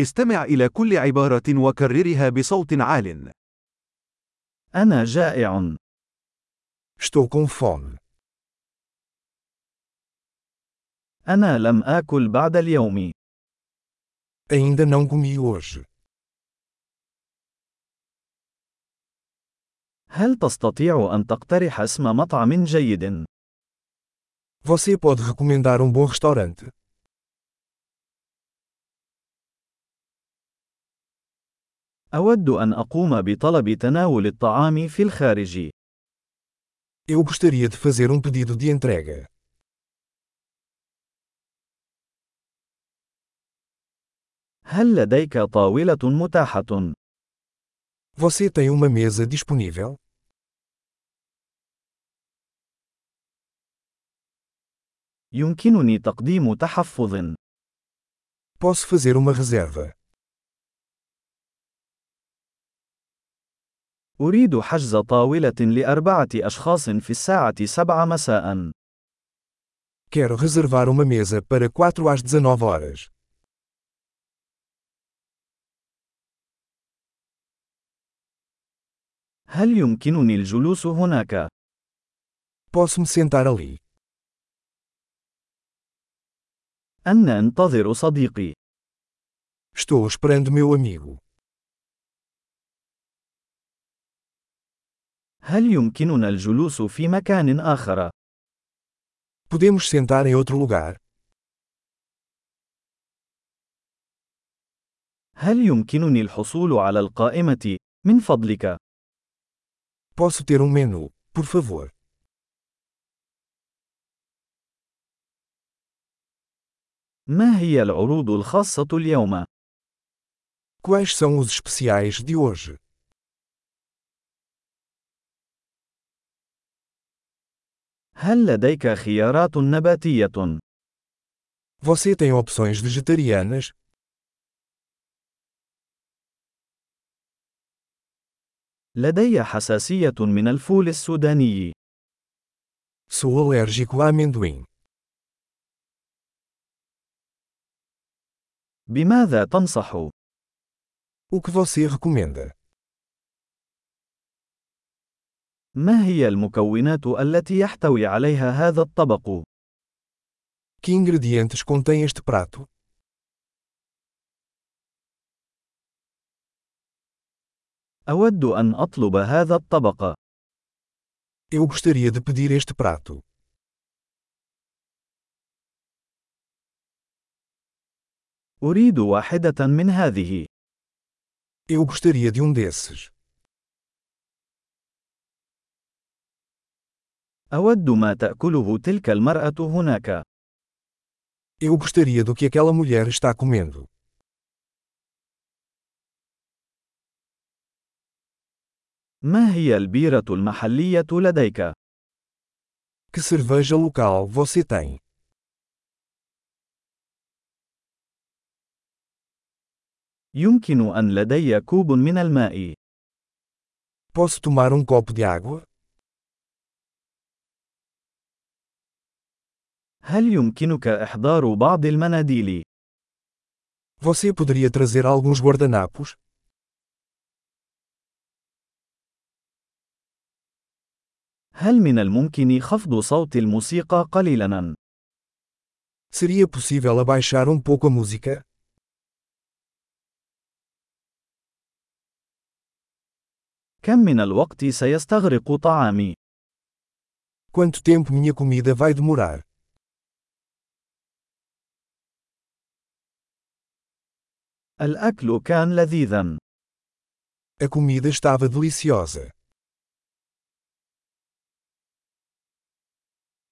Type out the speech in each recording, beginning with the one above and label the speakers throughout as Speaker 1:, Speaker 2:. Speaker 1: استمع إلى كل عبارة وكررها بصوت عال.
Speaker 2: أنا جائع.
Speaker 3: Estou com fome.
Speaker 2: أنا لم آكل بعد اليوم.
Speaker 3: Ainda não comi hoje.
Speaker 2: هل تستطيع أن تقترح اسم مطعم جيد؟
Speaker 3: Você pode recomendar um bom restaurante.
Speaker 2: أود أن أقوم بطلب تناول الطعام في الخارج.
Speaker 3: Eu gostaria de fazer um pedido de entrega.
Speaker 2: هل لديك طاولة متاحة؟
Speaker 3: Você tem uma mesa disponível?
Speaker 2: يمكنني تقديم تحفظ.
Speaker 3: Posso fazer uma reserva.
Speaker 2: أريد حجز طاولة لأربعة أشخاص في الساعة 7 مساء.
Speaker 3: Quero reservar uma mesa para 4 às 19 horas.
Speaker 2: هل يمكنني الجلوس هناك؟
Speaker 3: Posso me sentar ali.
Speaker 2: أنا أنتظر صديقي.
Speaker 3: Estou esperando meu amigo.
Speaker 2: هل يمكننا الجلوس في مكان آخر؟
Speaker 3: Podemos sentar em outro lugar?
Speaker 2: هل يمكنني الحصول على القائمة؟ من فضلك.
Speaker 3: Posso ter um menu, por favor.
Speaker 2: ما هي العروض الخاصة اليوم؟
Speaker 3: Quais são os especiais de hoje?
Speaker 2: هل لديك خيارات نباتية؟
Speaker 3: Você tem opções vegetarianas?
Speaker 2: لدي حساسية من الفول السوداني.
Speaker 3: Sou alérgico a amendoim.
Speaker 2: بماذا تنصح؟
Speaker 3: O que você recomenda?
Speaker 2: ما هي المكونات التي يحتوي عليها هذا الطبق؟
Speaker 3: Que ingredientes contém este prato?
Speaker 2: أود أن أطلب هذا الطبق.
Speaker 3: Eu gostaria de pedir este prato.
Speaker 2: أريد واحدة من هذه.
Speaker 3: Eu gostaria de um desses.
Speaker 2: أود ما تأكله تلك المرأة هناك.
Speaker 3: Eu gostaria do que aquela mulher está comendo.
Speaker 2: ما هي البيرة المحلية لديك؟
Speaker 3: Que cerveja local você tem?
Speaker 2: يمكن أن لدي كوب من الماء.
Speaker 3: Posso tomar um copo de água?
Speaker 2: هل يمكنك إحضار بعض المناديل؟
Speaker 3: Você poderia trazer alguns guardanapos?
Speaker 2: هل من الممكن خفض صوت الموسيقى قليلاً؟
Speaker 3: Seria possível abaixar um pouco a música?
Speaker 2: كم من الوقت سيستغرق طعامي؟
Speaker 3: Quanto tempo minha comida vai demorar?
Speaker 2: الأكل كان لذيذاً.
Speaker 3: A comida estava deliciosa.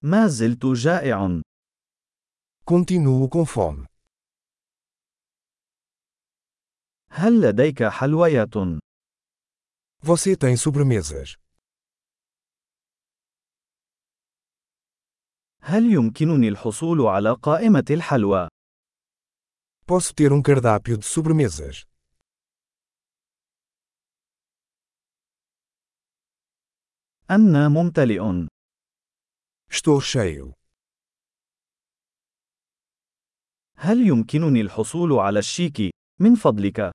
Speaker 2: ما زلت جائع.
Speaker 3: Continuo com fome.
Speaker 2: هل لديك حلويات؟
Speaker 3: Você tem sobremesas?
Speaker 2: هل يمكنني الحصول على قائمة الحلوى؟
Speaker 3: Posso ter um cardápio de sobremesas?
Speaker 2: أنا ممتلئ.
Speaker 3: Estou cheio.
Speaker 2: هل يمكنني الحصول على الشيك؟ من فضلك،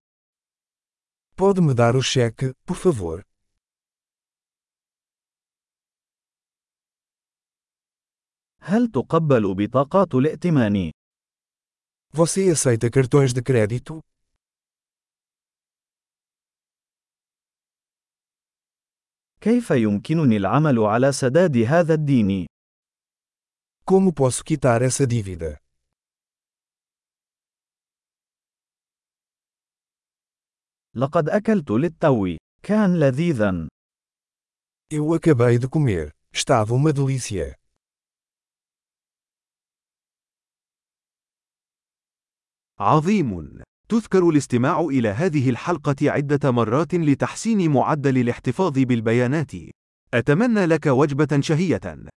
Speaker 3: Pode me dar o cheque, por favor?
Speaker 2: هل تقبل بطاقات الائتمان؟
Speaker 3: Você aceita cartões de crédito?
Speaker 2: كيف يمكنني العمل على سداد هذا الدين؟
Speaker 3: Como posso quitar essa dívida?
Speaker 2: لقد أكلت للتو. كان لذيذا.
Speaker 3: Eu acabei de comer. Estava uma delícia.
Speaker 1: عظيم. تذكر الاستماع إلى هذه الحلقة عدة مرات لتحسين معدل الاحتفاظ بالبيانات. أتمنى لك وجبة شهية.